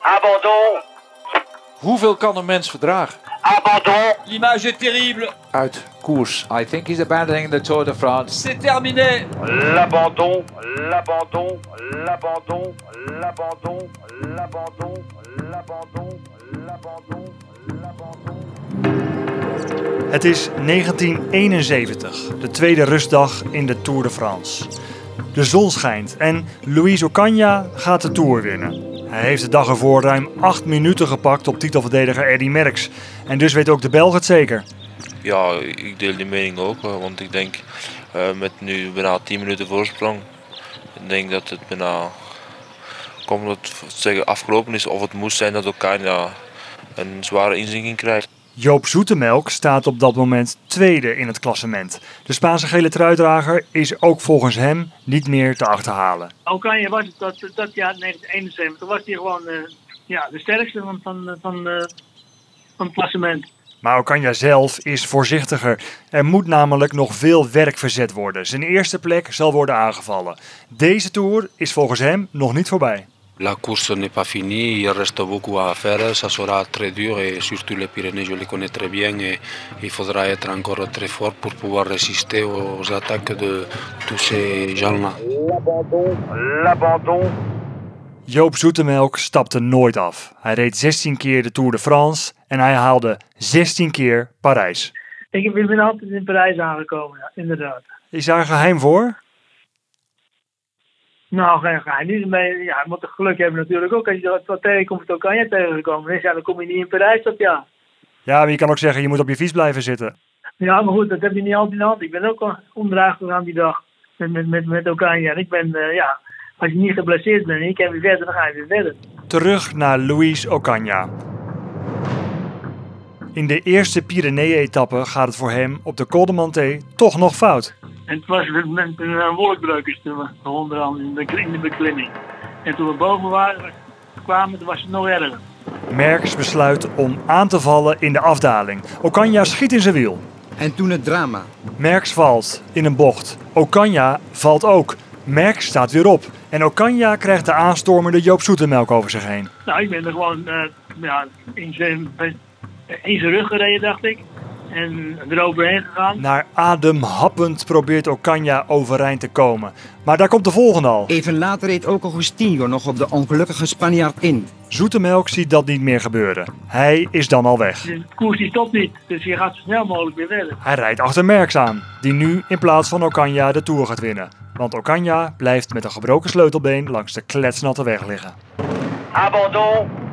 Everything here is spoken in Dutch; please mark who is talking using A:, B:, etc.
A: Abandon,
B: Hoeveel kan een mens verdragen?
A: abandon,
C: L'image est terrible.
B: Uit koers.
D: I think he's abandoning the Tour de France.
C: C'est terminé.
A: l'abandon, l'abandon, l'abandon, l'abandon, l'abandon, l'abandon, l'abandon, l'abandon.
E: Het is 1971, de tweede rustdag in de Tour de France. De zon schijnt en Luis Ocaña gaat de Tour winnen. Hij heeft de dag ervoor ruim 8 minuten gepakt op titelverdediger Eddy Merckx. En dus weet ook de Belg het zeker.
F: Ja, ik deel die mening ook. eh, Want ik denk eh, met nu bijna 10 minuten voorsprong. Ik denk dat het bijna kom dat het zeggen, afgelopen is. Of het moest zijn dat elkaar ja, een zware inzinking krijgt.
E: Joop Zoetemelk staat op dat moment tweede in het klassement. De Spaanse gele truidrager is ook volgens hem niet meer te achterhalen.
G: Oranje was het dat, dat jaar 1971, was hij gewoon eh, ja, de sterkste van, van, van, eh, van het klassement.
E: Maar Ocaña zelf is voorzichtiger. Er moet namelijk nog veel werk verzet worden. Zijn eerste plek zal worden aangevallen. Deze Tour is volgens hem nog niet voorbij.
H: La course n'est pas finie, il reste beaucoup à faire, ça sera très dur et surtout les Pyrénées, je les connais très bien et il faudra être encore très fort pour pouvoir résister aux attaques de tous ces gens-là.
A: L'abandon,
E: Joop Zoetemelk stapte nooit af. Hij reed 16 keer de Tour de France en hij haalde 16 keer Parijs.
G: Ik ben- ik ben altijd in Parijs aangekomen, ja, inderdaad.
E: Is daar een geheim voor?
G: Nou, geen geheim. Niet mee. Ja, je moet toch geluk hebben natuurlijk ook. Als je dat wat tegenkomt, dan kan je tegenkomen. Dus ja, dan kom je niet in Parijs dat jaar.
E: Ja, maar je kan ook zeggen je moet op je fiets blijven zitten.
G: Ja, maar goed, dat heb je niet altijd in de hand. Ik ben ook al onderuit gegaan die dag met, met, met, met Oranje. En ik ben, eh, ja, als je niet geblesseerd bent en ik heb weer verder, dan ga je weer verder.
E: Terug naar Luis Ocaña. In de eerste Pyrenee-etappe gaat het voor hem op de Col de Manté toch nog fout.
G: En het was met, met een eh, wolkbreuk is toen we onderaan in de, in de beklimming. En toen we boven waren, kwamen, toen was het nog erger.
E: Merckx besluit om aan te vallen in de afdaling. Ocaña schiet in zijn wiel.
I: En toen het drama.
E: Merckx valt in een bocht. Ocaña valt ook. Merckx staat weer op. En Ocaña krijgt de aanstormende Joop Zoetemelk over zich heen.
G: Nou, ik ben er gewoon eh, ja, in, zijn, eh, in zijn rug gereden, dacht ik. En eroverheen gegaan.
E: Naar ademhappend probeert Ocaña overeind te komen. Maar daar komt de volgende al.
I: Even later reed ook Agustinho nog op de ongelukkige Spanjaard in.
E: Zoetemelk ziet dat niet meer gebeuren. Hij is dan al weg.
G: De Dus koers die stopt niet, dus je gaat zo snel mogelijk weer verder.
E: Hij rijdt achter Merckx aan, die nu in plaats van Ocaña de Tour gaat winnen. Want Ocaña blijft met een gebroken sleutelbeen langs de kletsnatte weg liggen.
A: abandon,